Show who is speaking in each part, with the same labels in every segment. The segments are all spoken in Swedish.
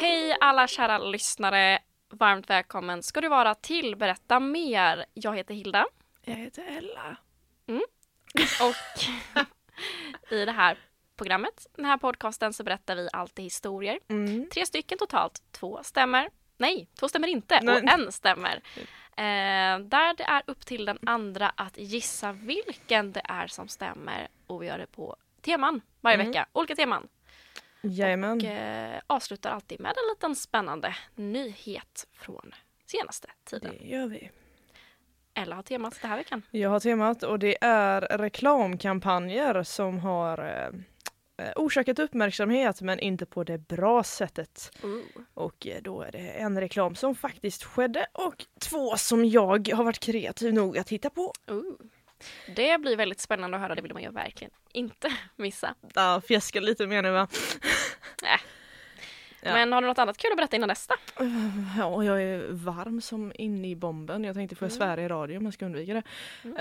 Speaker 1: hej alla kära lyssnare. Varmt välkommen ska du vara till Berätta Mer. Jag heter Hilda
Speaker 2: Jag heter Ella.
Speaker 1: och i det här programmet, den här podcasten så berättar vi alltid historier.
Speaker 2: Mm.
Speaker 1: Tre stycken totalt, två stämmer. Nej, två stämmer inte
Speaker 2: Nej.
Speaker 1: och en stämmer. Eh, där det är upp till den andra att gissa vilken det är som stämmer och vi gör det på teman varje
Speaker 2: Mm.
Speaker 1: vecka, olika teman.
Speaker 2: Jajamän.
Speaker 1: Och eh, avslutar alltid med en liten spännande nyhet från senaste tiden.
Speaker 2: Det gör vi.
Speaker 1: Eller har temat den här veckan.
Speaker 2: Jag har temat och det är reklamkampanjer som har eh, orsakat uppmärksamhet men inte på det bra sättet. Och eh, då är det en reklam som faktiskt skedde och två som jag har varit kreativ nog att hitta på.
Speaker 1: Ooh. Det blir väldigt spännande att höra, det vill man ju verkligen inte missa.
Speaker 2: Ja, fjäska lite mer nu va? Ja.
Speaker 1: Men har du något annat kul att berätta innan nästa?
Speaker 2: Ja, och jag är varm som inne i bomben. Jag tänkte får
Speaker 1: Mm.
Speaker 2: jag svära i radio men jag ska undvika det.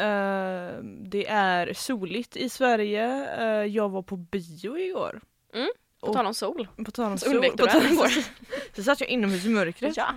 Speaker 2: Eh, det är soligt i Sverige. Eh, jag var på bio igår.
Speaker 1: Mm, På
Speaker 2: Och-
Speaker 1: tal om sol.
Speaker 2: På tal om
Speaker 1: Så undvek
Speaker 2: Oh. sol-
Speaker 1: du
Speaker 2: på tal
Speaker 1: det
Speaker 2: om-
Speaker 1: igår.
Speaker 2: Så satt jag inomhus i mörkret.
Speaker 1: Ja.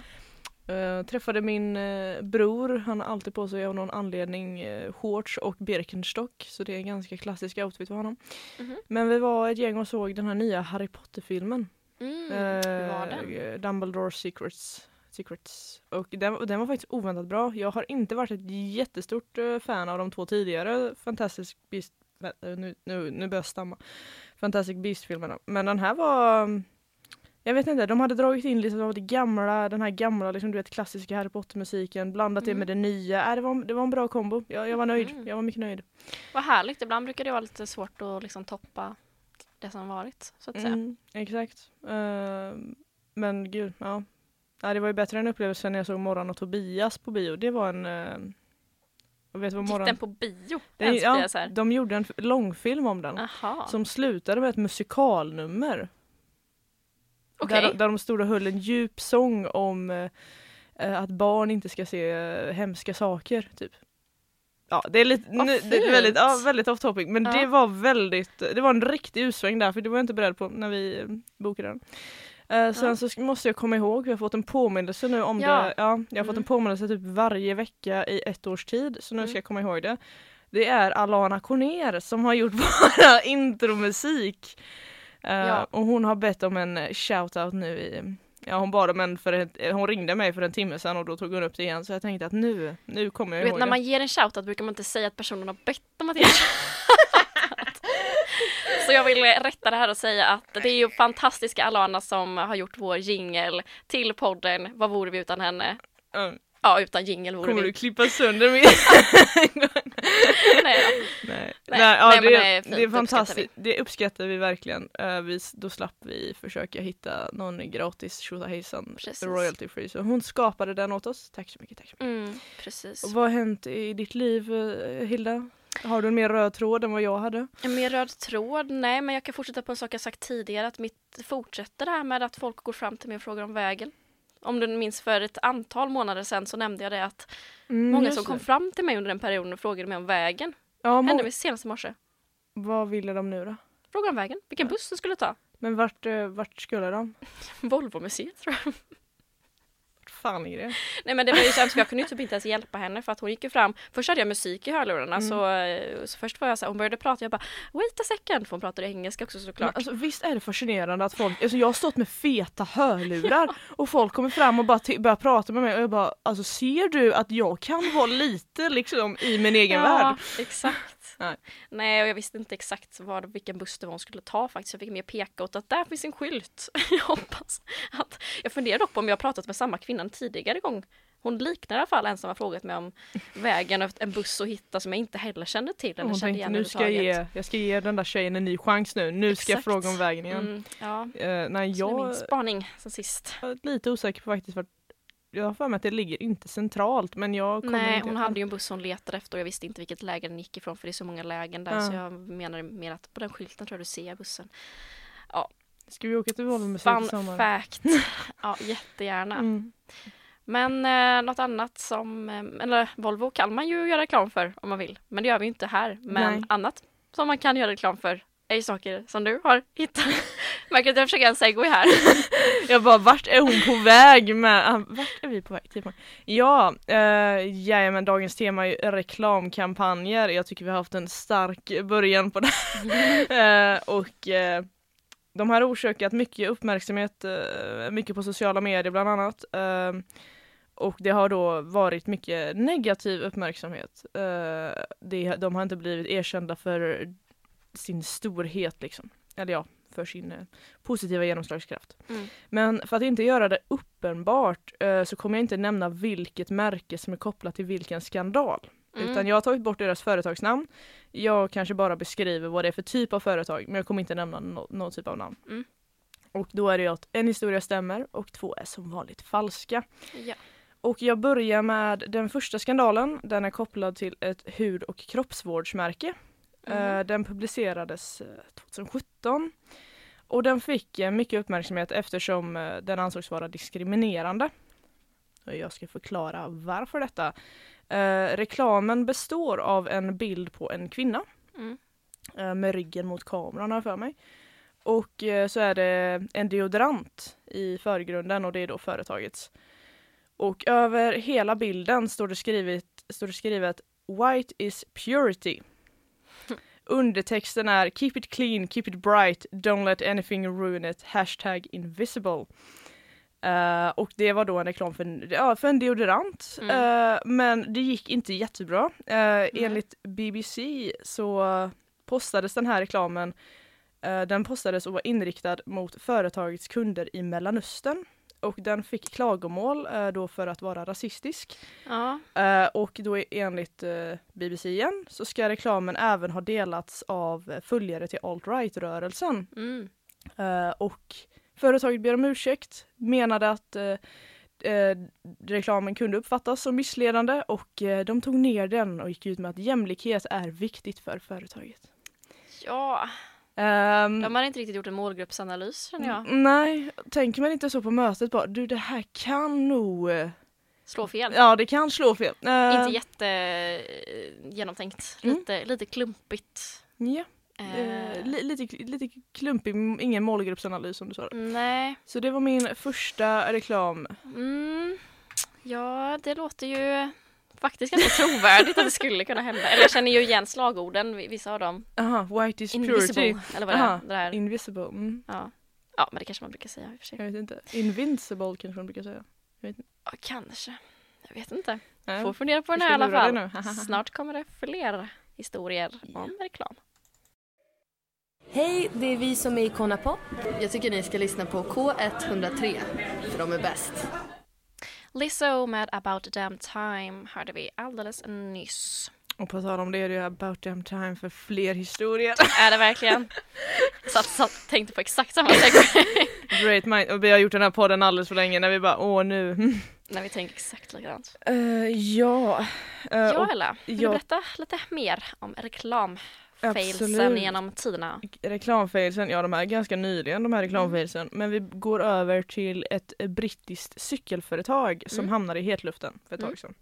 Speaker 2: Eh, träffade min eh, bror, han har alltid på sig av någon anledning eh, shorts och Birkenstock. Så det är en ganska klassisk outfit för honom.
Speaker 1: Mhm.
Speaker 2: Men vi var ett gäng och såg den här nya Harry Potter-filmen.
Speaker 1: Mm.
Speaker 2: Eh,
Speaker 1: var den?
Speaker 2: Dumbledore Secrets. Secrets. Och den, och den var faktiskt oväntat bra. Jag har inte varit ett jättestort eh, fan av de två tidigare Fantastic Beast... vä- eh, Nu, nu, nu börjar jag stamma. Fantastic Beast-filmerna. Men den här var... mm, Jag vet inte, de hade dragit in liksom av det gamla, den här gamla liksom, du vet, klassiska Harry Potter-musiken, blandat det
Speaker 1: Mm.
Speaker 2: med det nya. Äh, det, var, en- det var en bra kombo. Jag, jag var nöjd.
Speaker 1: Mm.
Speaker 2: Jag var mycket nöjd.
Speaker 1: Vad härligt, ibland brukar det vara lite svårt att liksom toppa det som varit, så att säga.
Speaker 2: Mm, exakt. Eh, men gud, ja. ja. Det var ju bättre än upplevelsen när jag såg Morran och Tobias på bio. Det var en... Uh, jag vet vad
Speaker 1: Gick
Speaker 2: Morran...
Speaker 1: den på bio?
Speaker 2: Det-
Speaker 1: ens, blir
Speaker 2: ja,
Speaker 1: jag så här.
Speaker 2: de gjorde en f- långfilm om den.
Speaker 1: Aha.
Speaker 2: Som slutade med ett musikalnummer.
Speaker 1: Okej.
Speaker 2: Där, de- där de stod och höll en djup sång om eh, eh, att barn inte ska se eh, hemska saker, typ. Ja, det är lite,
Speaker 1: Vad
Speaker 2: nu, det är
Speaker 1: fint.
Speaker 2: väldigt, ja, väldigt off topic, men
Speaker 1: Ja.
Speaker 2: det var väldigt, det var en riktig utsväng där, för det var jag inte beredd på när vi eh, bokade den. Eh, sen
Speaker 1: Ja.
Speaker 2: så sk- måste jag komma ihåg, vi har fått en påminnelse nu om
Speaker 1: Ja.
Speaker 2: det, ja, jag har fått
Speaker 1: Mm.
Speaker 2: en påminnelse typ varje vecka i ett års tid, så nu
Speaker 1: Mm.
Speaker 2: ska jag komma ihåg det. Det är Alana Corner som har gjort våra intromusik. Eh,
Speaker 1: Ja.
Speaker 2: Och hon har bett om en eh, shoutout nu i Ja hon bad om en för ett, eh, hon ringde mig för en timme sedan och då tog hon upp det igen så jag tänkte att nu, nu kommer jag
Speaker 1: Du vet,
Speaker 2: ihåg
Speaker 1: när
Speaker 2: det.
Speaker 1: man ger en shoutout brukar man inte säga att personen har bett om att ge en shoutout. Så jag vill eh, rätta det här och säga att det är ju fantastiska Alana som har gjort vår jingel till podden Vad vore vi utan henne?
Speaker 2: Mm.
Speaker 1: Ja, utan jingel vore
Speaker 2: Kommer
Speaker 1: vi
Speaker 2: du
Speaker 1: inte.
Speaker 2: klippa sönder min?
Speaker 1: Nej, då.
Speaker 2: Nej,
Speaker 1: Nej,
Speaker 2: Nej, ja,
Speaker 1: nej, men
Speaker 2: det,
Speaker 1: det är fint,
Speaker 2: det
Speaker 1: det
Speaker 2: är
Speaker 1: uppskattar
Speaker 2: fantastiskt, det uppskattar vi verkligen. Eh, vi, s- då slapp vi försöka hitta någon gratis tjosahejsan
Speaker 1: Precis.
Speaker 2: royalty free så hon skapade den åt oss. Tack så mycket, tack så mycket.
Speaker 1: Mm, precis.
Speaker 2: Och vad har hänt i ditt liv eh, Hilda? Har du en mer röd tråd än vad jag hade?
Speaker 1: En mer röd tråd? Nej, men jag kan fortsätta på en sak jag sagt tidigare. Att mitt fortsätter det här med att folk går fram till mig och frågar om vägen. Om du minns för ett antal månader sedan så nämnde jag det att
Speaker 2: Mm,
Speaker 1: många
Speaker 2: just
Speaker 1: som kom
Speaker 2: det.
Speaker 1: fram till mig under den perioden och frågade mig om vägen.
Speaker 2: Ja,
Speaker 1: hände
Speaker 2: många,
Speaker 1: mig senast i morse.
Speaker 2: vad ville de nu då?
Speaker 1: Frågade om vägen, vilken buss du skulle ta.
Speaker 2: Men vart, eh, vart skulle de?
Speaker 1: Volvo-museet tror jag.
Speaker 2: Vart fan är det?
Speaker 1: Nej men det var ju så hemskt, för jag kunde ju typ inte ens hjälpa henne för att hon gick ju fram. Först hade jag musik i hörlurarna
Speaker 2: Mm.
Speaker 1: så, eh, så först var jag så här, hon började prata jag bara wait a second för hon pratade engelska också
Speaker 2: Men
Speaker 1: såklart.
Speaker 2: alltså, visst är det fascinerande att folk, alltså jag har stått med feta hörlurar och folk kommer fram och bara t- börjar prata med mig och jag bara alltså ser du att jag kan vara lite liksom i min egen värld?
Speaker 1: exakt.
Speaker 2: Nej.
Speaker 1: Nej. och jag visste inte exakt vad, vilken buss det var hon skulle ta faktiskt. Jag fick mer peka åt att där finns en skylt. Jag hoppas att, jag Jag funderar dock på om jag har pratat med samma kvinna en tidigare gång. Hon liknar i alla fall en som har frågat mig om vägen och en buss att hitta som jag inte heller kände till eller
Speaker 2: Hon
Speaker 1: kände
Speaker 2: tänkte
Speaker 1: igen
Speaker 2: nu ska jag,
Speaker 1: överhuvudtaget.
Speaker 2: ge, jag ska ge den där tjejen en ny chans nu. Nu ska jag
Speaker 1: Exakt.
Speaker 2: fråga om vägen igen.
Speaker 1: Mm, ja,
Speaker 2: Eh, nej,
Speaker 1: så det är
Speaker 2: jag
Speaker 1: min spaning sen sist.
Speaker 2: jag är lite osäker på faktiskt vart jag har för mig att det ligger inte centralt men jag kommer
Speaker 1: Nej,
Speaker 2: inte
Speaker 1: hon hade ju en buss hon letade efter och jag visste inte vilket läge den gick ifrån för det är så många lägen där
Speaker 2: Ja.
Speaker 1: så jag menar mer att på den skylten tror jag du ser bussen.
Speaker 2: Ska vi åka till Volvomuseet i
Speaker 1: Fun
Speaker 2: sommar?
Speaker 1: fact! Ja, jättegärna.
Speaker 2: Mm.
Speaker 1: Men eh, något annat som, eh, eller Volvo kan man ju göra reklam för om man vill, men det gör vi ju inte här. Men
Speaker 2: Nej.
Speaker 1: annat som man kan göra reklam för är ju saker som du har hittat. Märker att jag försöker göra en segway här.
Speaker 2: Jag bara, vart är hon på väg med? Ah, Vart är vi på väg? Typ. Ja, eh, jajamän, dagens tema är ju reklamkampanjer. Jag tycker vi har haft en stark början på det. Eh, och eh, de har orsakat mycket uppmärksamhet, eh, mycket på sociala medier bland annat. Eh, och det har då varit mycket negativ uppmärksamhet. Eh, det, de har inte blivit erkända för sin storhet liksom. Eller ja, för sin eh, positiva genomslagskraft.
Speaker 1: Mm.
Speaker 2: Men för att inte göra det uppenbart eh, så kommer jag inte nämna vilket märke som är kopplat till vilken skandal.
Speaker 1: Mm.
Speaker 2: Utan jag har tagit bort deras företagsnamn. Jag kanske bara beskriver vad det är för typ av företag men jag kommer inte nämna nå- någon typ av namn.
Speaker 1: Mm.
Speaker 2: Och då är det ju att en historia stämmer och två är som vanligt falska.
Speaker 1: Ja.
Speaker 2: Och jag börjar med den första skandalen. Den är kopplad till ett hud och kroppsvårdsmärke.
Speaker 1: Mhm.
Speaker 2: Eh, Den publicerades eh, 2017. Och den fick eh, mycket uppmärksamhet eftersom eh, den ansågs vara diskriminerande. Och jag ska förklara varför detta. Eh, reklamen består av en bild på en kvinna
Speaker 1: Mm.
Speaker 2: eh, med ryggen mot kameran har jag för mig. Och eh, så är det en deodorant i förgrunden och det är då företagets. Och över hela bilden står det skrivet, står det skrivet White is purity. Undertexten är Keep it clean, keep it bright, don't let anything ruin it, hashtag invisible. Eh, och det var då en reklam för en, ja, för en deodorant.
Speaker 1: Mm.
Speaker 2: Eh, men det gick inte jättebra. Uh, Enligt BBC så postades den här reklamen eh, den postades och var inriktad mot företagets kunder i Mellanöstern. Och den fick klagomål eh, då för att vara rasistisk.
Speaker 1: Ja.
Speaker 2: Eh, och då enligt eh, BBC igen så ska reklamen även ha delats av eh, följare till alt-right-rörelsen.
Speaker 1: Mm.
Speaker 2: Eh, och företaget ber om ursäkt, menade att eh, eh, reklamen kunde uppfattas som missledande och eh, de tog ner den och gick ut med att jämlikhet är viktigt för företaget.
Speaker 1: ja,
Speaker 2: Ehm,
Speaker 1: de har inte riktigt gjort en målgruppsanalys känner
Speaker 2: Mm.
Speaker 1: jag.
Speaker 2: Nej, tänker man inte så på mötet bara, du det här kan nog, eh,
Speaker 1: Slå fel.
Speaker 2: ja det kan slå fel. Eh,
Speaker 1: Inte jätte eh, genomtänkt.
Speaker 2: Mm.
Speaker 1: Lite, lite klumpigt.
Speaker 2: ja,
Speaker 1: Eh,
Speaker 2: eh, li- lite, lite klumpig, ingen målgruppsanalys som du sa.
Speaker 1: nej.
Speaker 2: Så det var min första reklam.
Speaker 1: Mm. Ja, det låter ju faktiskt ganska trovärdigt att det skulle kunna hända. Eller jag känner ju igen slagorden, vi- vissa av dem.
Speaker 2: Aha, white is purity.
Speaker 1: Invisible, eller vad det
Speaker 2: Aha.
Speaker 1: är. Det där.
Speaker 2: Invisible. Mm,
Speaker 1: Ja. ja, men det kanske man brukar säga i och för sig.
Speaker 2: jag vet inte. Invincible kanske man brukar säga.
Speaker 1: Ja, kanske. Jag vet inte.
Speaker 2: Nej.
Speaker 1: Får fundera på den
Speaker 2: vi
Speaker 1: här i
Speaker 2: ska
Speaker 1: alla
Speaker 2: lura dig
Speaker 1: fall.
Speaker 2: nu.
Speaker 1: Snart kommer det fler historier om reklam.
Speaker 3: Hej, det är vi som är Icona Pop.
Speaker 4: Jag tycker ni ska lyssna på K103, för de är bäst.
Speaker 1: Lizzo med About Damn Time hörde vi alldeles nyss.
Speaker 2: Och på tal om det är det ju about damn time för fler historier.
Speaker 1: Är det verkligen? Satt, satt, tänkte på exakt samma sak
Speaker 2: Great mind. Och vi har gjort den här podden alldeles för länge när vi bara åh nu.
Speaker 1: när vi tänker exakt likadant.
Speaker 2: Eh, ja. Eh, och
Speaker 1: Ja, Ella, vill
Speaker 2: ja.
Speaker 1: du berätta lite mer om reklamfailsen
Speaker 2: Absolut.
Speaker 1: genom tiderna?
Speaker 2: reklamfailsen, ja de här är ganska nyligen
Speaker 1: Mm.
Speaker 2: de här reklamfailsen, men vi går över till ett eh, brittiskt cykelföretag som
Speaker 1: Mm.
Speaker 2: hamnade i hetluften för ett
Speaker 1: Mm.
Speaker 2: tag sedan.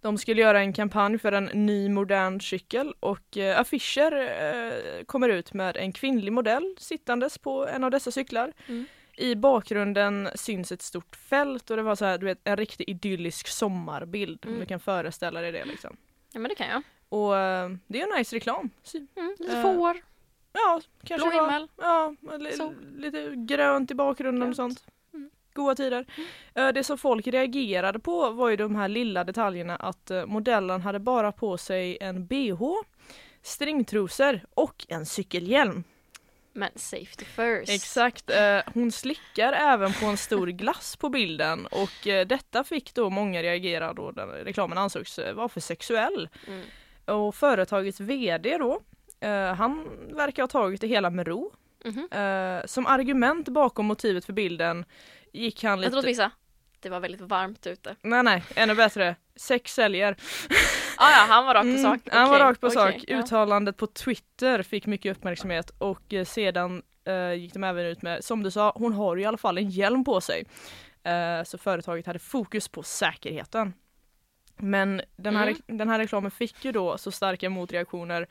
Speaker 2: De skulle göra en kampanj för en ny modern cykel och eh, affischer eh, kommer ut med en kvinnlig modell sittandes på en av dessa cyklar.
Speaker 1: Mm.
Speaker 2: I bakgrunden syns ett stort fält och det var så här, du vet, en riktig idyllisk sommarbild om
Speaker 1: Mm.
Speaker 2: du kan föreställa dig det liksom.
Speaker 1: Ja, men det kan jag.
Speaker 2: Och eh, det är en nice reklam. Sy-
Speaker 1: Mm, lite
Speaker 2: Eh,
Speaker 1: får,
Speaker 2: Ja, kanske
Speaker 1: blå
Speaker 2: var-
Speaker 1: himmel.
Speaker 2: Ja, li-
Speaker 1: Sol.
Speaker 2: lite grönt i bakgrunden
Speaker 1: Grönt.
Speaker 2: och sånt.
Speaker 1: Mm.
Speaker 2: Goda tider. Eh, Det som folk reagerade på var ju de här lilla detaljerna att eh, modellen hade bara på sig en bh, stringtrosor och en cykelhjälm.
Speaker 1: Men safety first.
Speaker 2: Exakt, eh, hon slickar även på en stor glass på bilden och eh, detta fick då många reagera då den reklamen ansågs eh, vara för sexuell.
Speaker 1: Mm.
Speaker 2: Och företagets VD då, eh, han verkar ha tagit det hela med ro.
Speaker 1: Mhm.
Speaker 2: Eh, som argument bakom motivet för bilden gick han
Speaker 1: Jag
Speaker 2: lite... Mm,
Speaker 1: tror att vissa. Det var väldigt varmt ute.
Speaker 2: Nej nej, ännu bättre. Sex säljer.
Speaker 1: Ah, ja, han var rakt på
Speaker 2: Mm,
Speaker 1: sak.
Speaker 2: Han var
Speaker 1: Okej,
Speaker 2: rakt på
Speaker 1: okej,
Speaker 2: sak.
Speaker 1: ja.
Speaker 2: Uttalandet på Twitter fick mycket uppmärksamhet och eh, sedan eh, gick de även ut med, som du sa, hon har ju i alla fall en hjälm på sig. Eh, så företaget hade fokus på säkerheten. Men den här,
Speaker 1: Mm.
Speaker 2: den här reklamen fick ju då så starka motreaktioner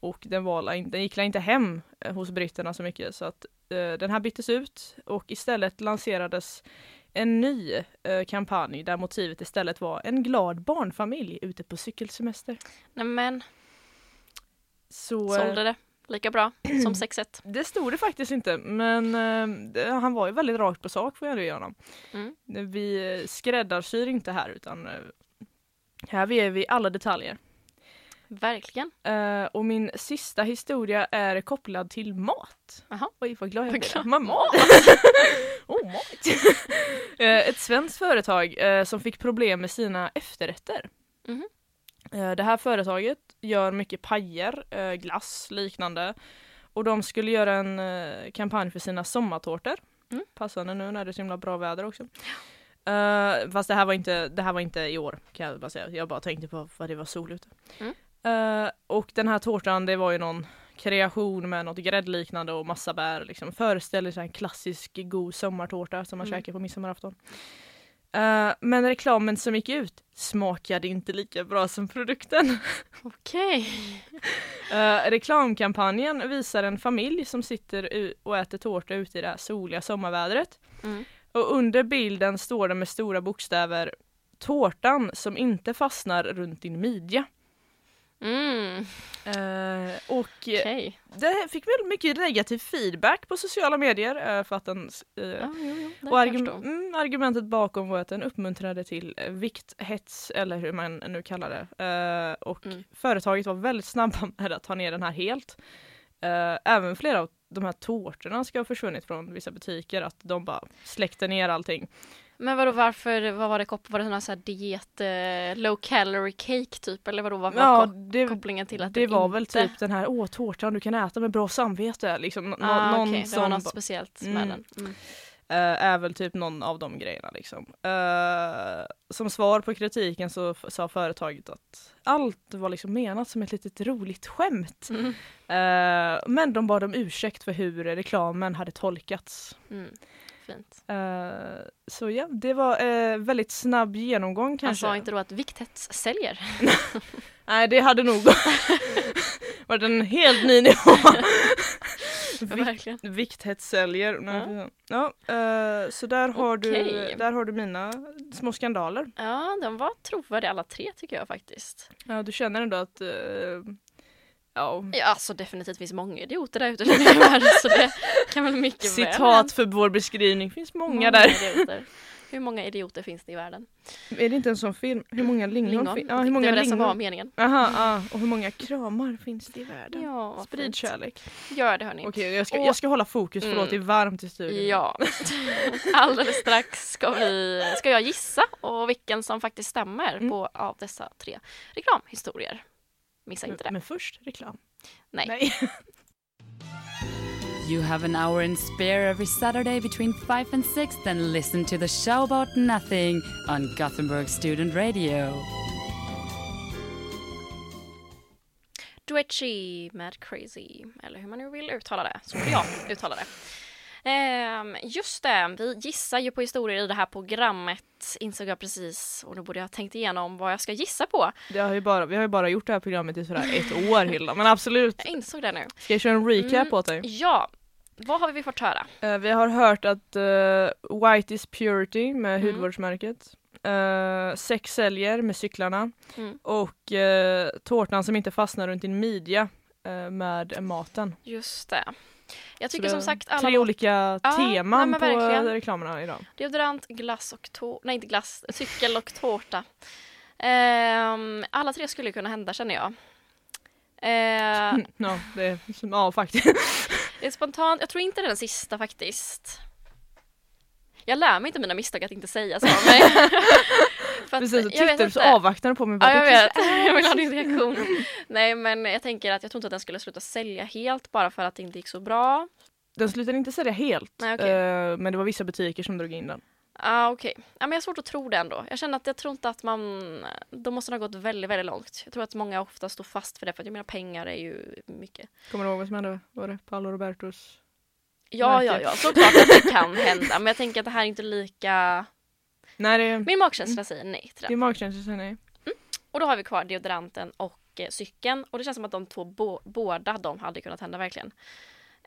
Speaker 2: och den, var, la in- den gick la inte hem eh, hos britterna så mycket så att eh, den här byttes ut och istället lanserades en ny eh, kampanj där motivet istället var en glad barnfamilj ute på cykelsemester.
Speaker 1: Nej men,
Speaker 2: Så eh,
Speaker 1: sålde det. Lika bra som sexet.
Speaker 2: det stod det faktiskt inte men eh, det, han var ju väldigt rakt på sak får jag ändå ge honom.
Speaker 1: Mm.
Speaker 2: Vi eh, skräddarsyr inte här utan eh, här ger vi alla detaljer.
Speaker 1: Verkligen.
Speaker 2: Eh, och min sista historia är kopplad till mat.
Speaker 1: Jaha.
Speaker 2: Oj vad glad jag
Speaker 1: Vad
Speaker 2: blev.
Speaker 1: glad.
Speaker 2: Men Mat! oh, mat. Eh, ett svenskt företag eh, som fick problem med sina efterrätter.
Speaker 1: Mhm.
Speaker 2: Eh, det här företaget gör mycket pajer, eh, glass, liknande. Och de skulle göra en eh, kampanj för sina sommartårtor.
Speaker 1: Mm.
Speaker 2: Passande nu när det är så himla bra väder också. Eh, fast det här, var inte, det här var inte i år kan jag bara säga. Jag bara tänkte på vad det var sol ute.
Speaker 1: Mm.
Speaker 2: Eh, och den här tårtan det var ju någon kreation med något gräddliknande och massa bär. Liksom. Föreställer sig en klassisk god sommartårta som man
Speaker 1: Mm.
Speaker 2: käkar på midsommarafton. Eh, men reklamen som gick ut smakade inte lika bra som produkten.
Speaker 1: Okej.
Speaker 2: Eh, reklamkampanjen visar en familj som sitter u- och äter tårta ute i det här soliga sommarvädret.
Speaker 1: Mm.
Speaker 2: Och under bilden står det med stora bokstäver Tårtan som inte fastnar runt din midja.
Speaker 1: Mm,
Speaker 2: Eh, och
Speaker 1: okej.
Speaker 2: det fick väl mycket negativ feedback på sociala medier eh, för att den eh,
Speaker 1: Ja, jo, jo, det
Speaker 2: Och
Speaker 1: kan jag
Speaker 2: argu-
Speaker 1: förstå.
Speaker 2: mm, argumentet bakom var att den uppmuntrade till eh, vikthets eller hur man nu kallar det. Eh, och
Speaker 1: Mm.
Speaker 2: företaget var väldigt snabba med att ta ner den här helt. Eh, även flera av de här tårtorna ska ha försvunnit från vissa butiker, att de bara släckte ner allting.
Speaker 1: Men vadå varför, vad var det kopplat, var det någon sån här diet, eh, low calorie cake typ eller vadå vad var
Speaker 2: Ja,
Speaker 1: kop-
Speaker 2: det,
Speaker 1: kopplingen till att
Speaker 2: det var väl
Speaker 1: inte-
Speaker 2: typ den här, åh tårtan du kan äta med bra samvete, liksom. Nå-
Speaker 1: Ah,
Speaker 2: någon
Speaker 1: okej, det var
Speaker 2: sån
Speaker 1: något
Speaker 2: ba-
Speaker 1: speciellt med
Speaker 2: Mm.
Speaker 1: den. Mm.
Speaker 2: Eh, är väl typ någon av de grejerna liksom. Eh, som svar på kritiken så f- sa företaget att allt var liksom menat som ett litet roligt skämt.
Speaker 1: Mm.
Speaker 2: Eh, men de bad om ursäkt för hur reklamen hade tolkats.
Speaker 1: Mm. Fint.
Speaker 2: Eh, så ja, det var eh, väldigt snabb genomgång
Speaker 1: Han
Speaker 2: kanske.
Speaker 1: sa Alltså, inte då att vikthets säljer.
Speaker 2: Nej, det hade nog varit en helt ny nivå. Vikt-
Speaker 1: Verkligen.
Speaker 2: Vikthetsäljer.
Speaker 1: Ja.
Speaker 2: Ja. Ja, eh, så där har, du,
Speaker 1: Okej.
Speaker 2: där har du mina små skandaler.
Speaker 1: Ja, de var trovärdiga alla tre tycker jag faktiskt.
Speaker 2: Ja, du känner ändå att... eh, ja.
Speaker 1: Ja, alltså definitivt finns många idioter där ute i världen så det kan väl mycket väl
Speaker 2: Citat för vår beskrivning, finns många, där.
Speaker 1: idioter. Hur många idioter finns det i världen?
Speaker 2: Är det inte en sån film? Hur många lingon? fin- Ja, hur många
Speaker 1: det var det som var
Speaker 2: lingon?
Speaker 1: meningen.
Speaker 2: Aha, ja. Och hur många kramar finns det i världen?
Speaker 1: Ja, vad
Speaker 2: Sprid
Speaker 1: fint.
Speaker 2: kärlek.
Speaker 1: Gör det hörni.
Speaker 2: Okej, jag, ska,
Speaker 1: Och- Mm.
Speaker 2: jag ska hålla fokus, förlåt, det är varmt i studion.
Speaker 1: Ja, alldeles strax ska, vi, ska jag gissa och vilken som faktiskt stämmer
Speaker 2: Mm.
Speaker 1: på av dessa tre reklamhistorier. Missa inte det.
Speaker 2: Men först reklam.
Speaker 1: Mm. Nej.
Speaker 5: You have an hour and spare every Saturday between 5 and 6, then listen to the show about nothing on Gothenburg Student Radio.
Speaker 1: Duetchi med Crazy, eller hur man nu vill uttala det. Så vill jag uttala det. Ehm, just det, vi gissar ju på historier i det här programmet insåg jag precis och då borde jag ha tänkt igenom vad jag ska gissa på.
Speaker 2: Det har ju bara, vi har ju bara gjort det här programmet i sådär ett år Hilda, men absolut.
Speaker 1: Jag insåg det nu.
Speaker 2: Ska jag köra en recap
Speaker 1: Mm.
Speaker 2: åt dig?
Speaker 1: Ja, vad har vi fått höra?
Speaker 2: Eh, vi har hört att eh, White is Purity med
Speaker 1: Mm.
Speaker 2: hudvårdsmärket. Eh, sex säljer med cyklarna.
Speaker 1: Mm.
Speaker 2: Och eh, tårtan som inte fastnar runt din midja eh, med maten.
Speaker 1: Just det. Jag
Speaker 2: Så
Speaker 1: tycker
Speaker 2: det
Speaker 1: som
Speaker 2: är
Speaker 1: sagt alla
Speaker 2: Tre olika
Speaker 1: Ja,
Speaker 2: teman
Speaker 1: nej, men
Speaker 2: på
Speaker 1: verkligen.
Speaker 2: reklamerna idag.
Speaker 1: Deodorant, glass och tårta. Nej, inte glass. Cykel och tårta. Ehm, alla tre skulle kunna hända känner jag. Ehm,
Speaker 2: Mm, Ja, det är, ja faktiskt.
Speaker 1: det eh, spontant, jag tror inte det är den sista faktiskt. Jag lär mig inte mina misstag att inte säga så. Men för att,
Speaker 2: Precis, och
Speaker 1: jag vet
Speaker 2: tittade så
Speaker 1: inte.
Speaker 2: avvaktande på mig. Bara,
Speaker 1: Ja, jag
Speaker 2: "Det kanske
Speaker 1: vet. Jag vill ha din reaktion. Nej, men jag tänker att jag tror inte att den skulle sluta sälja helt bara för att det inte gick så bra.
Speaker 2: Den slutade inte sälja helt,
Speaker 1: Nej, okej.
Speaker 2: eh, men det var vissa butiker som drog in den.
Speaker 1: Ah, okej. Ja, men jag har svårt att tro det ändå. Jag känner att jag tror inte att man... Då måste den ha gått väldigt, väldigt långt. Jag tror att många ofta står fast för det för att jag menar pengar är ju mycket.
Speaker 2: Kommer du ihåg vad som hände? Var det Paolo Robertos?
Speaker 1: Ja, ja,
Speaker 2: Märkligt.
Speaker 1: ja. Såklart att det kan hända. Men jag tänker att det här är inte lika...
Speaker 2: Nej, det,
Speaker 1: Min magkänsla säger nej till det.
Speaker 2: det är magkänsla säger nej.
Speaker 1: Och då har vi kvar deodoranten och eh, cykeln. Och det känns som att de två, bo- båda de hade kunnat hända verkligen.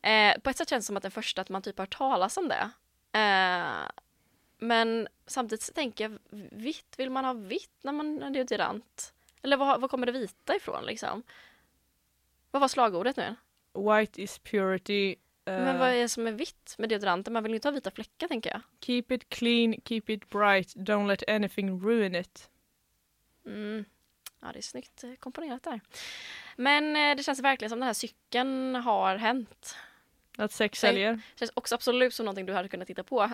Speaker 1: Eh, på ett sätt känns det som att den första, att man typ har hört talas om det. Eh, men samtidigt så tänker jag, vitt, vill man ha vitt när man är deodorant? Eller var, var kommer det vita ifrån liksom? Vad var slagordet nu?
Speaker 2: White is purity. eh,
Speaker 1: Men vad är det som är vitt med deodoranten? Man vill ju inte ha vita fläckar tänker jag.
Speaker 2: Keep it clean, keep it bright, don't let anything ruin it.
Speaker 1: Mm. Ja, det är snyggt eh, komponerat där. Men eh, det känns verkligen som den här cykeln har hänt.
Speaker 2: Att sex
Speaker 1: Nej.
Speaker 2: säljer.
Speaker 1: Känns också absolut som någonting du hade kunnat titta på.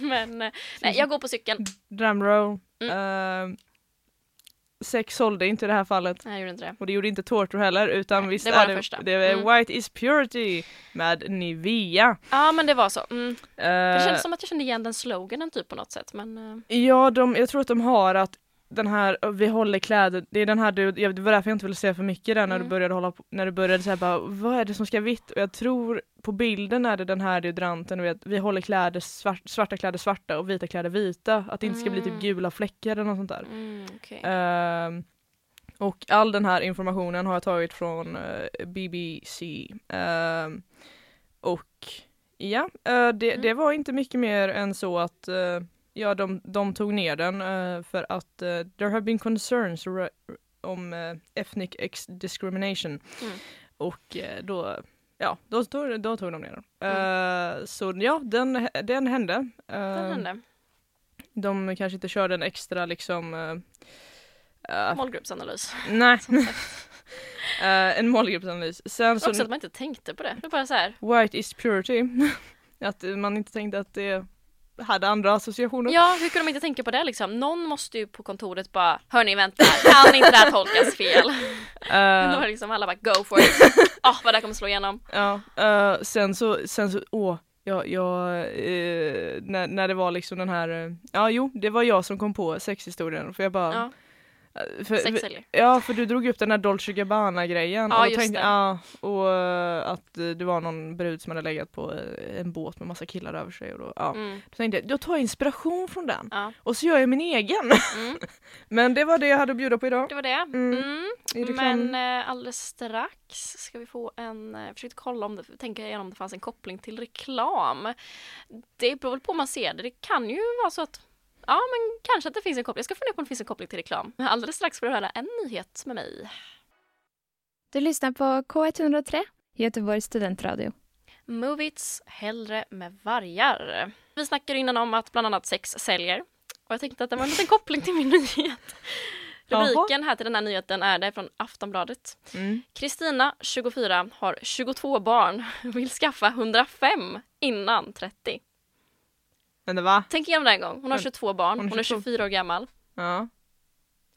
Speaker 1: Men eh, nej, jag går på cykeln.
Speaker 2: Drumroll. Mm. sex sålde inte i det här fallet.
Speaker 1: Nej, jag gjorde inte det.
Speaker 2: Och det gjorde inte Tortor heller utan
Speaker 1: Nej,
Speaker 2: visst
Speaker 1: det var
Speaker 2: är
Speaker 1: den
Speaker 2: det,
Speaker 1: första.
Speaker 2: det är
Speaker 1: Mm.
Speaker 2: White is Purity med Nivea.
Speaker 1: Ja, men det var så. Mm.
Speaker 2: Eh,
Speaker 1: Det kändes som att jag kände igen den sloganen typ på något sätt. Men eh,
Speaker 2: Ja, de, jag tror att de har att den här, ö, vi håller kläder, det är den här du, jag, det var därför jag inte ville säga för mycket där när
Speaker 1: Mm.
Speaker 2: du började hålla på, när du började säga bara vad är det som ska vitt? Och jag tror på bilden är det den här deodoranten, du vet, vi håller kläder svart, svarta kläder svarta och vita kläder vita, att det inte ska bli
Speaker 1: Mm.
Speaker 2: typ gula fläckar eller något sånt där.
Speaker 1: mm, okej.
Speaker 2: Ehm, och all den här informationen har jag tagit från eh, BBC. Ehm, och ja, eh, det,
Speaker 1: Mm.
Speaker 2: det var inte mycket mer än så att eh, ja, de, de tog ner den eh, för att eh, there have been concerns ra- om eh, ethnic ex- discrimination.
Speaker 1: Mm.
Speaker 2: Och eh, då, ja, då, då, då tog de ner den. Eh, så ja, den, den hände.
Speaker 1: Mm. Den
Speaker 2: Ehm,
Speaker 1: hände.
Speaker 2: De kanske inte körde en extra liksom eh, eh,
Speaker 1: Målgruppsanalys.
Speaker 2: Nej. Eh, en målgruppsanalys. Sen
Speaker 1: Också att
Speaker 2: så
Speaker 1: man inte tänkte på det. Det var bara så här.
Speaker 2: White is purity. att man inte tänkte att det hade andra associationer.
Speaker 1: Ja, hur kunde de inte tänka på det liksom? Någon måste ju på kontoret bara, hörni vänta, kan inte det här tolkas fel?
Speaker 2: Eh,
Speaker 1: Då var det liksom alla bara, go for it. Ah, vad det här kommer slå igenom.
Speaker 2: ja. Eh, sen så, sen så, åh. Ja, jag, eh, när, när det var liksom den här, eh, ja jo det var jag som kom på sexhistorien för jag bara
Speaker 1: Ja,
Speaker 2: eh, för,
Speaker 1: sex
Speaker 2: för,
Speaker 1: säljer.
Speaker 2: Ja för du drog upp den här Dolce Gabbana grejen
Speaker 1: Ja,
Speaker 2: och, då
Speaker 1: just
Speaker 2: tänkte,
Speaker 1: det.
Speaker 2: ja, och eh, att eh, det var någon brud som hade legat på eh, en båt med massa killar över sig och då, ja.
Speaker 1: Mm,
Speaker 2: Då tänkte jag, då tar jag inspiration från den
Speaker 1: ja.
Speaker 2: och så gör jag min egen.
Speaker 1: Mm.
Speaker 2: Men det var det jag hade att bjuda på idag.
Speaker 1: Det var det.
Speaker 2: Mm.
Speaker 1: Mm.
Speaker 2: I reklamen.
Speaker 1: Men eh, alldeles strax ska vi få en, eh, jag försökte kolla om det, tänka igenom om det fanns en koppling till reklam. Det beror väl på hur man ser det, det kan ju vara så att Ja men kanske att det finns en koppling, jag ska fundera på om det finns en koppling till reklam. Men alldeles strax får du höra en nyhet med mig.
Speaker 6: Du lyssnar på K103, Göteborgs studentradio.
Speaker 1: Movits hellre med vargar. Vi snackade innan om att bland annat sex säljer. Och jag tänkte att det var en liten koppling till min nyhet.
Speaker 2: Jaha.
Speaker 1: Rubriken här till den här nyheten är det från Aftonbladet.
Speaker 2: Mm.
Speaker 1: Kristina, 24, har 22 barn, vill skaffa 105 innan 30.
Speaker 2: Men det var?
Speaker 1: Tänk igenom det en gång. Hon har 22 barn, hon är 24 år gammal.
Speaker 2: Ja.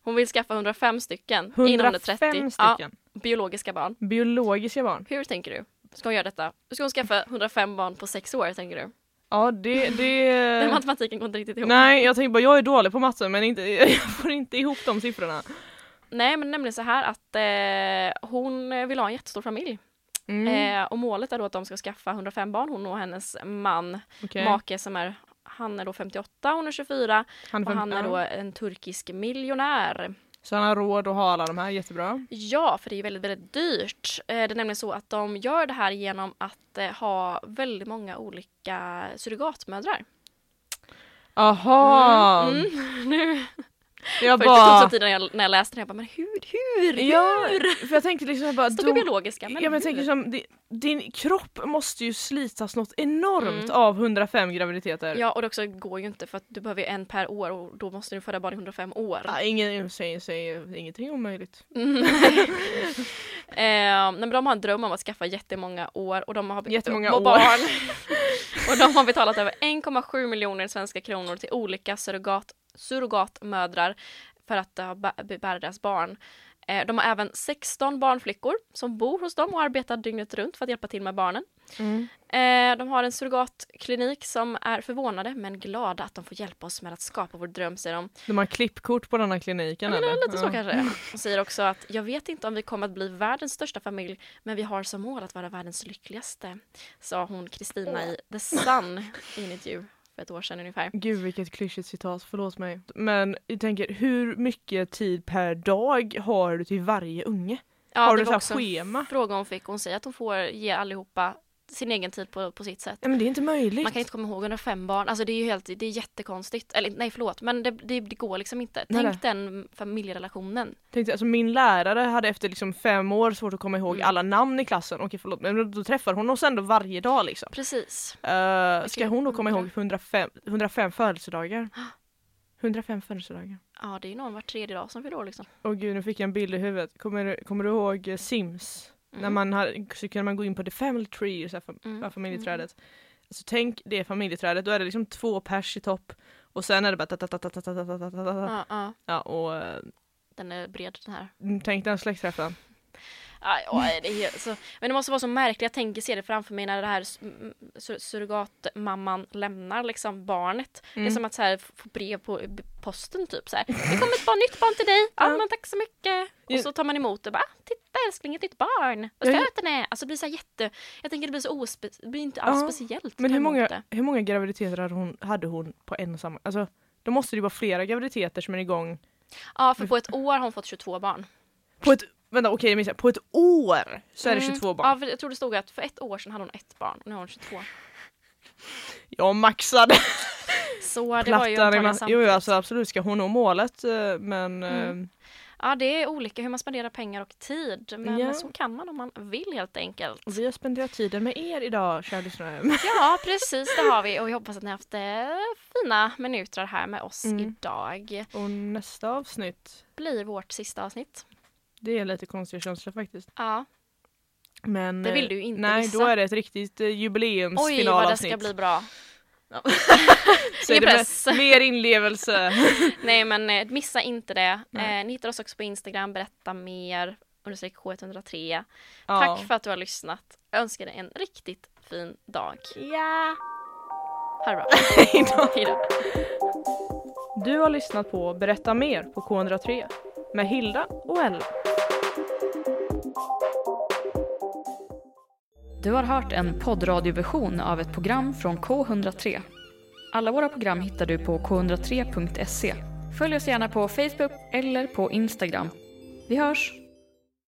Speaker 1: Hon vill skaffa 105 stycken innan hon är 30.
Speaker 2: 105
Speaker 1: Ja,
Speaker 2: stycken.
Speaker 1: biologiska barn.
Speaker 2: Biologiska barn.
Speaker 1: Hur tänker du? Ska hon göra detta? Ska hon skaffa 105 barn på 6 år, tänker du?
Speaker 2: Ja det,
Speaker 1: Den
Speaker 2: det...
Speaker 1: matematiken går inte riktigt ihop.
Speaker 2: Eh. Nej jag tänker bara jag är dålig på matte men inte, jag får inte ihop de siffrorna.
Speaker 1: Nej, men nämligen så här att eh, hon vill ha en jättestor familj.
Speaker 2: Mm.
Speaker 1: Eh, och målet är då att de ska skaffa 105 barn, hon och hennes man,
Speaker 2: Okej.
Speaker 1: make som är, han är då 58, hon är 24.
Speaker 2: Han
Speaker 1: Och
Speaker 2: fem-
Speaker 1: han är
Speaker 2: ja.
Speaker 1: då en turkisk miljonär.
Speaker 2: Så han har råd att ha alla de här, jättebra.
Speaker 1: Ja, för det är ju väldigt, väldigt dyrt. Eh, Det är nämligen så att de gör det här genom att eh, ha väldigt många olika surrogatmödrar.
Speaker 2: Aha!
Speaker 1: Mm, nu
Speaker 2: Jag
Speaker 1: För det tog
Speaker 2: bara...
Speaker 1: så tid när jag, när jag läste den, jag bara men hur, hur,
Speaker 2: Ja,
Speaker 1: hur?
Speaker 2: för jag tänkte liksom jag bara...
Speaker 1: Stod
Speaker 2: då-
Speaker 1: i biologiska,
Speaker 2: Ja,
Speaker 1: men
Speaker 2: men jag tänker
Speaker 1: hur?
Speaker 2: som, di- din kropp måste ju slitas något enormt
Speaker 1: Mm.
Speaker 2: av 105 graviditeter.
Speaker 1: Ja och det också går ju inte för att du behöver ju en per år och då måste du föda barn i 105 år.
Speaker 2: Ja, Ah, ingen, säger, säger, ingenting omöjligt.
Speaker 1: Mm. eh, nej, men de har en dröm om att skaffa jättemånga år och de har,
Speaker 2: Jättemånga
Speaker 1: och
Speaker 2: år.
Speaker 1: barn. och de har betalat över 1,7 miljoner svenska kronor till olika surrogat, surrogatmödrar för att eh, bä- bära deras barn. Eh, de har även 16 barnflickor som bor hos dem och arbetar dygnet runt för att hjälpa till med barnen.
Speaker 2: Mm.
Speaker 1: Eh, de har en surrogatklinik som är förvånade men glada att de får hjälpa oss med att skapa vår dröm, säger de.
Speaker 2: De har klippkort på den här kliniken
Speaker 1: Ja, men det
Speaker 2: eller?
Speaker 1: är lite så kanske. Hon säger också att jag vet inte om vi kommer att bli världens största familj men vi har som mål att vara världens lyckligaste. Sa hon Kristina i The Sun i en intervju för ett år sedan ungefär.
Speaker 2: Gud vilket klyschigt citat, förlåt mig. Men jag tänker, hur mycket tid per dag har du till varje unge?
Speaker 1: Ja,
Speaker 2: har
Speaker 1: det
Speaker 2: du så
Speaker 1: var
Speaker 2: här
Speaker 1: också en
Speaker 2: schema?
Speaker 1: fråga hon fick. Hon säger att hon får ge allihopa sin egen tid på, på sitt sätt.
Speaker 2: Ja, men det är inte möjligt.
Speaker 1: Man kan inte komma ihåg 105 barn, alltså det är ju helt, det är jättekonstigt. Eller nej förlåt, men det, det, det går liksom inte.
Speaker 2: Nej,
Speaker 1: Tänk den familjerelationen.
Speaker 2: Tänkte, alltså, min lärare hade efter liksom fem år svårt att komma ihåg
Speaker 1: Mm.
Speaker 2: alla namn i klassen, okej förlåt men då- då träffar hon oss ändå varje dag liksom.
Speaker 1: Precis.
Speaker 2: Eh, ska
Speaker 1: Okej,
Speaker 2: hon då komma
Speaker 1: undrar.
Speaker 2: ihåg 105, 105 födelsedagar? 105 födelsedagar.
Speaker 1: Ja, det är ju någon var tredje dag som fyller år liksom.
Speaker 2: Åh gud nu fick jag en bild i huvudet. Kommer, du- kommer du ihåg eh, Sims? När
Speaker 1: Mm.
Speaker 2: man har, så kunde man gå in på the family tree, så här, fam-
Speaker 1: Mm.
Speaker 2: ja, familjeträdet. Alltså, tänk det familjeträdet, då är det liksom två pers i topp och sen är det bara ta-ta-ta-ta-ta-ta-ta-ta-ta.
Speaker 1: Ja, ja.
Speaker 2: Ja och eh,
Speaker 1: Den är bred den här.
Speaker 2: mm, tänk den släktträffen.
Speaker 1: Aj, oj, det är helt, så, men det måste vara så märkligt, jag tänker se det framför mig när det här s- m- sur, surrogatmamman lämnar liksom barnet. Det är
Speaker 2: Mm.
Speaker 1: som att så här, f- få brev på b- posten typ så här. Det kommer ett barn, nytt barn till dig, ja men tack så mycket. Och
Speaker 2: Ja.
Speaker 1: så tar man emot det bara, "Ah, titta älskling ett nytt barn, vad
Speaker 2: Ja, ja.
Speaker 1: söt den är. Alltså det blir så här jätte, jag tänker det blir så ospe, det blir inte alls
Speaker 2: Ja,
Speaker 1: speciellt. att
Speaker 2: Men
Speaker 1: ta
Speaker 2: hur
Speaker 1: emot
Speaker 2: många,
Speaker 1: det.
Speaker 2: hur många graviditeter hade hon, hade hon på en och samma? Alltså, då måste det ju vara flera graviditeter som är igång.
Speaker 1: Ja för på ett
Speaker 2: Mm.
Speaker 1: år har hon fått 22 barn.
Speaker 2: På ett, vänta okej det missade jag. på ett år så är det 22 barn.
Speaker 1: Mm. Ja för jag tror det stod att för ett år sedan hade hon ett barn, nu har hon 22.
Speaker 2: Jag maxade
Speaker 1: Så det var ju
Speaker 2: plattan.
Speaker 1: antagligen
Speaker 2: innan. Jo, jo
Speaker 1: samtidigt.
Speaker 2: alltså absolut ska hon nå målet eh, men
Speaker 1: Mm.
Speaker 2: eh,
Speaker 1: Ja, det är olika hur man spenderar pengar och tid. Men
Speaker 2: Ja.
Speaker 1: så kan man om man vill helt enkelt.
Speaker 2: vi har spenderat tiden med er idag kära lyssnare.
Speaker 1: Ja, precis det har vi. Och jag hoppas att ni har haft eh, fina minuter här med oss
Speaker 2: Mm.
Speaker 1: idag.
Speaker 2: Och nästa avsnitt,
Speaker 1: Blir vårt sista avsnitt.
Speaker 2: det är lite konstiga känslor faktiskt.
Speaker 1: Ja.
Speaker 2: Men,
Speaker 1: Det vill
Speaker 2: eh,
Speaker 1: du ju inte
Speaker 2: Nej,
Speaker 1: missa.
Speaker 2: då är det ett riktigt eh,
Speaker 1: Oj, vad det
Speaker 2: jubileumsfinalavsnitt.
Speaker 1: ska bli bra.
Speaker 2: Så är det
Speaker 1: Ingen
Speaker 2: med-
Speaker 1: press.
Speaker 2: Mer inlevelse.
Speaker 1: Nej, men eh, missa inte det.
Speaker 2: Nej.
Speaker 1: Eh, ni hittar oss också på Instagram, berätta mer, understreck K103.
Speaker 2: Ja.
Speaker 1: Tack för att du har lyssnat. Jag önskar dig en riktigt fin dag. Ja! Ha det bra. Hej då.
Speaker 2: Du har lyssnat på Berätta mer på K103 med Hilda och Ella.
Speaker 7: Du har hört en poddradioversion av ett program från K103. Alla våra program hittar du på k103.se. Följ oss gärna på Facebook eller på Instagram. Vi hörs!